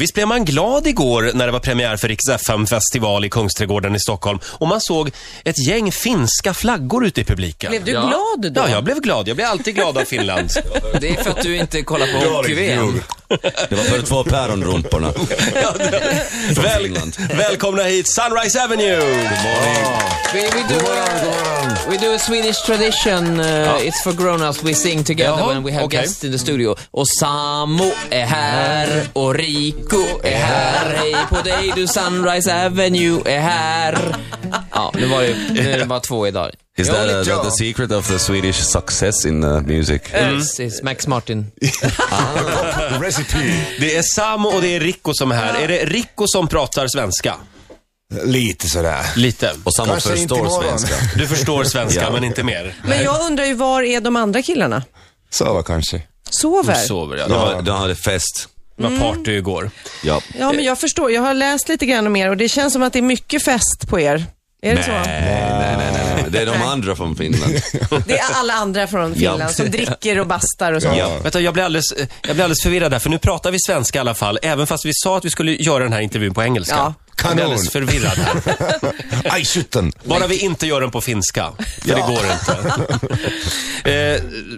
Visst blev man glad igår när det var premiär för Rix FM-festival i Kungsträdgården i Stockholm och man såg ett gäng finska flaggor ute i publiken. Blev du Ja. glad då? Ja, jag blev glad. Jag blir alltid glad av Finland. Det är för att du inte kollar på HQV. Det var för de två päronrumporna. Från Väl, Finland. välkomna hit, Sunrise Avenue! We, we, do a, we do a Swedish tradition. Uh, It's for grown-ups. We sing together Jaha, when we have okej. guests in the studio. Och Samo är här och Rico är här. Hej på dig du Sunrise Avenue är här. Ja, nu var det, nu är det bara två idag. Is that, uh, Ja. that the secret of the Swedish success in uh, music? Mm. It's, it's Max Martin. Recipe. Det är Samo och det är Rico som är här. Är det Rico som pratar svenska? Lite sådär. Lite. Och samma Kanske inte förstår imorgon. svenska. Du förstår svenska, Ja. men inte mer. Men jag undrar ju, var är de andra killarna? Sova kanske. Sover? Sover jag. De, Det har- de hade fest. var party igår. Ja. Ja, men jag förstår. Jag har läst lite grann om er och det känns som att det är mycket fest på er. Är det så? Nej, nej, nej, nej. Det är de andra från Finland. Det är alla andra från Finland Ja. som dricker och bastar och sånt. Ja. Vänta, jag blir, alldeles, eh, jag blir alldeles förvirrad här, för nu pratar vi svenska i alla fall, även fast vi sa att vi skulle göra den här intervjun på engelska. Ja. Jag blir alldeles Kanon. förvirrad här. Aj, skjuten. Bara vi inte gör den på finska, för det går inte.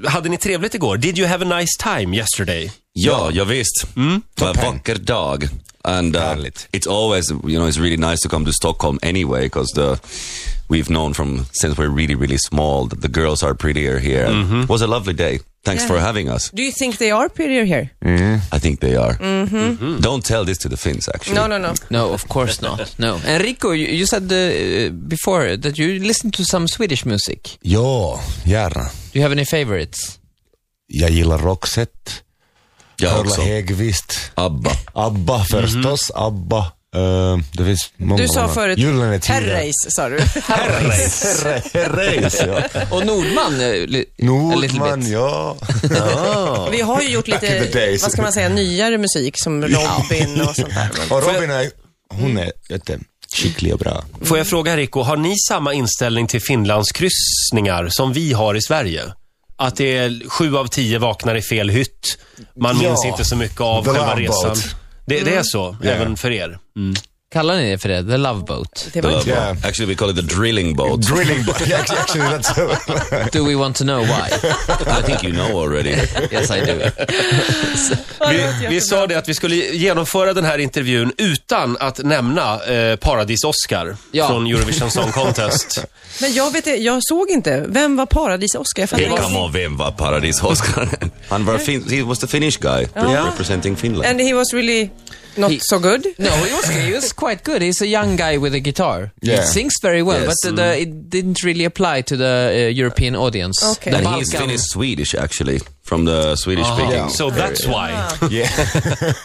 eh, hade ni trevligt igår? Did you have a nice time yesterday? Ja, ja visst. Det var en vacker dag. And uh, Mm. Härligt. it's always, you know, it's really nice to come to Stockholm anyway because the we've known from since we're really, really small that the girls are prettier here. Mm-hmm. It was a lovely day. Thanks for having us. Do you think they are prettier here? I think they are. Don't tell this to the Finns actually. Mm-hmm. No, no, no. No, of course not. No. Enrico, you, you said uh, before that you listen to some Swedish music. Ja, gärna. Do you have any favorites? Jag gillar Roxette, Jag Karla också. Hägvist, ABBA. ABBA förstås, ABBA. Eh, det finns många. Du sa många. förut, Gyllene tider. Herreys sa du. Herre, herreys, ja. Och Nordman? eh, li- a little bit. Nordman, ja. Vi har ju gjort Back in the lite, days. vad ska man säga, nyare musik som Robin och sånt där. Och Robin är, hon Mm. är jätteskicklig och bra. Får jag fråga Rico, har ni samma inställning till Finlandskryssningar som vi har i Sverige? Att det är sju av tio vaknar i fel hytt. Man Ja. minns inte så mycket av The själva Love resan. Boat. Det, det är så, Yeah. även för er. Kallar ni det för det? The Love Boat? Det var inte... Yeah. Actually we call it the drilling boat. Drilling, yeah, actually that's... Do we want to know why? I think you know already. Yes I do. Vi, vi sa det att vi skulle genomföra den här intervjun utan att nämna eh, Paradis-Oscar Ja. från Eurovision Song Contest. Men jag vet inte- jag såg inte. Vem var Paradis-Oskar? Jag fattar Hey, come inte. on, vem var Paradis-Oscar? Han var fin- he was the Finnish guy representing Finland. Oh. And he was really not He- so good. No, he was, he was quite good. He's a young guy with a guitar. He Yeah. sings very well, Yes. but the, the, it didn't really apply to the uh, European audience. Okay. The And he's Balkan- Finnish Swedish actually from the Swedish speaking. So that's why.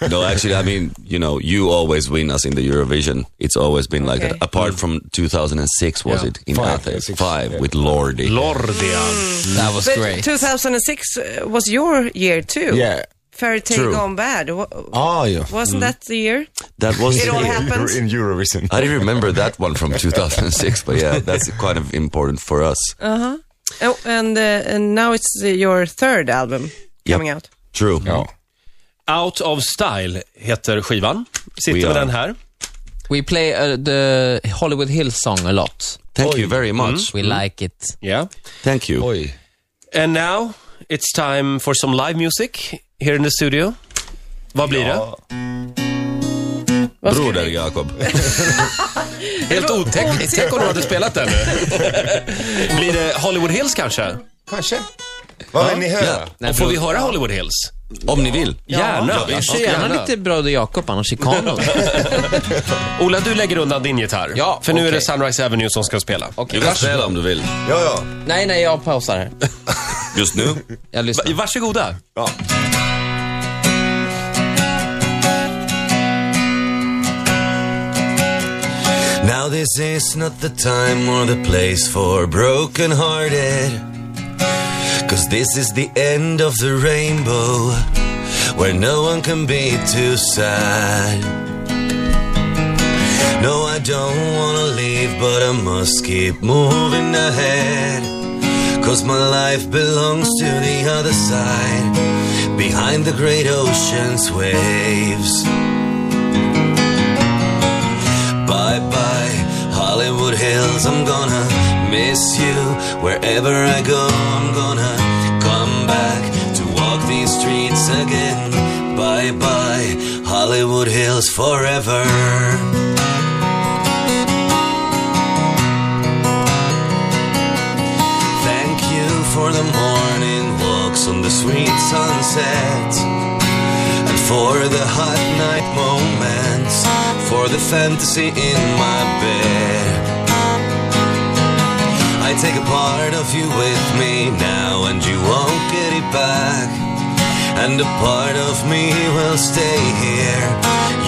No, actually, I mean, you know, you always win us in the Eurovision. It's always been like Okay. that. Apart from 2006, was Yeah. it in Five, Athens? six, Mm. Five yeah. with Lordi. Lordia. That was But great. 2006 uh, was your year too. Yeah. Fairy Tale True. Gone Bad. Wa- Ah, ja. Wasn't that the year? that was. It all happened. You're in Eurovision. I didn't remember that one from 2006, but yeah, that's kind of important for us. Oh, and, uh, and now it's uh, your third album coming out. True. Ja. Out of Style heter skivan. We Sitter med are- den här. We play uh, the Hollywood Hills song a lot. Thank you very much. We like it. Yeah. Thank you. Mm. Oj. And now it's time for some live music here in the studio. Vad blir Broder Jakob. det? Helt otäckt. Tänk om du hade spelat den nu. blir det Hollywood Hills kanske? Kanske. Vad vill ni höra? Och får vi höra Hollywood Hills? Om ni vill. Gärna. Ja, Så gärna lite Broder Jakob, annars i kanon. Ola, du lägger undan din gitarr. Ja, För nu är okej. det Sunrise Avenue som ska spela. Du kan spela om du vill. Ja, ja. nej, nej, jag pausar här. Just nu. Jag lyssnar. Va- Varsågoda. ja. Now this is not the time or the place for broken hearted. Cause this is the end of the rainbow where no one can be too sad. No, I don't wanna leave, but I must keep moving ahead. Cause my life belongs to the other side, behind the great ocean's waves. cause I'm gonna miss you wherever I go. I'm gonna come back to walk these streets again. Bye bye, Hollywood Hills forever. Thank you for the morning walks on the sweet sunset and for the hot night moments, for the fantasy in my bed. I take a part of you with me now and you won't get it back. And a part of me will stay here.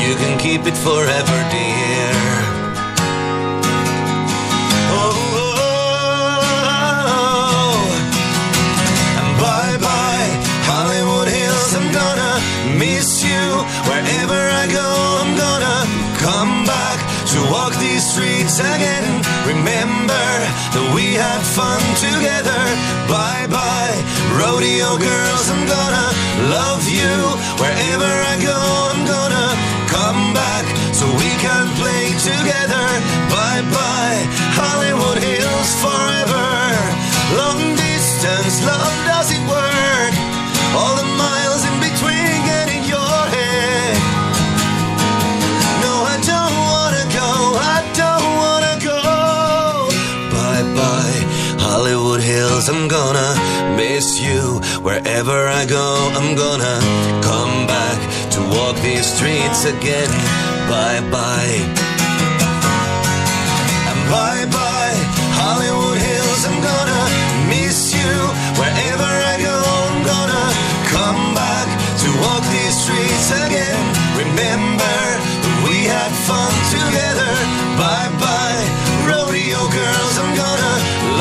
You can keep it forever, dear. Oh, And bye bye, Hollywood Hills. I'm gonna miss you wherever I go. I'm gonna come back to walk these streets again. Remember that we had fun together. Bye bye, rodeo girls. I'm gonna love you wherever I go. I'm gonna come back so we can play together. Bye bye, Hollywood Hills forever. Long distance love does it work? All the miles in between get in your head. No, I don't wanna go. I don't wanna go. Bye bye, Hollywood Hills. I'm gonna miss you wherever I go. I'm gonna come back to walk these streets again. Bye bye. And bye bye, Hollywood Hills. I'm gonna miss you wherever I go. I'm gonna come back to walk these streets again. Remember that we had fun together. Bye bye, rodeo girls. I'm gonna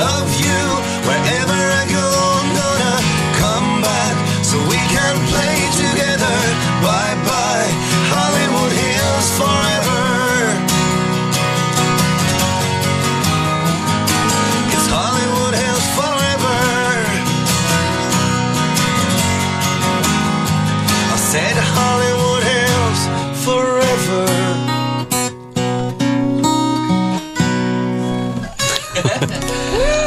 love you wherever I go. I'm gonna come back so we can play together. Bye bye, Hollywood Hills forever. It's Hollywood Hills forever. I said Hollywood Hills forever.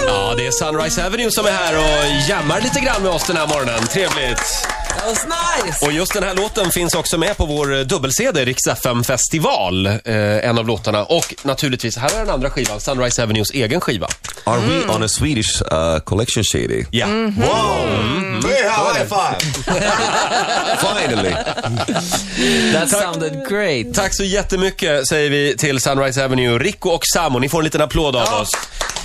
Ja, det är Sunrise Avenue som är här och jammar lite grann med oss den här morgonen. Trevligt. That was nice! Och just den här låten finns också med på vår eh, dubbel-CD, Rix FM festival. Eh, en av låtarna. Och naturligtvis, här är den andra skivan, Sunrise Avenues egen skiva. Are we on a Swedish uh, collection shady? Ja. High five! Finally. That sounded great. Tack så jättemycket säger vi till Sunrise Avenue, Rico och Samo. Ni får en liten applåd av oss.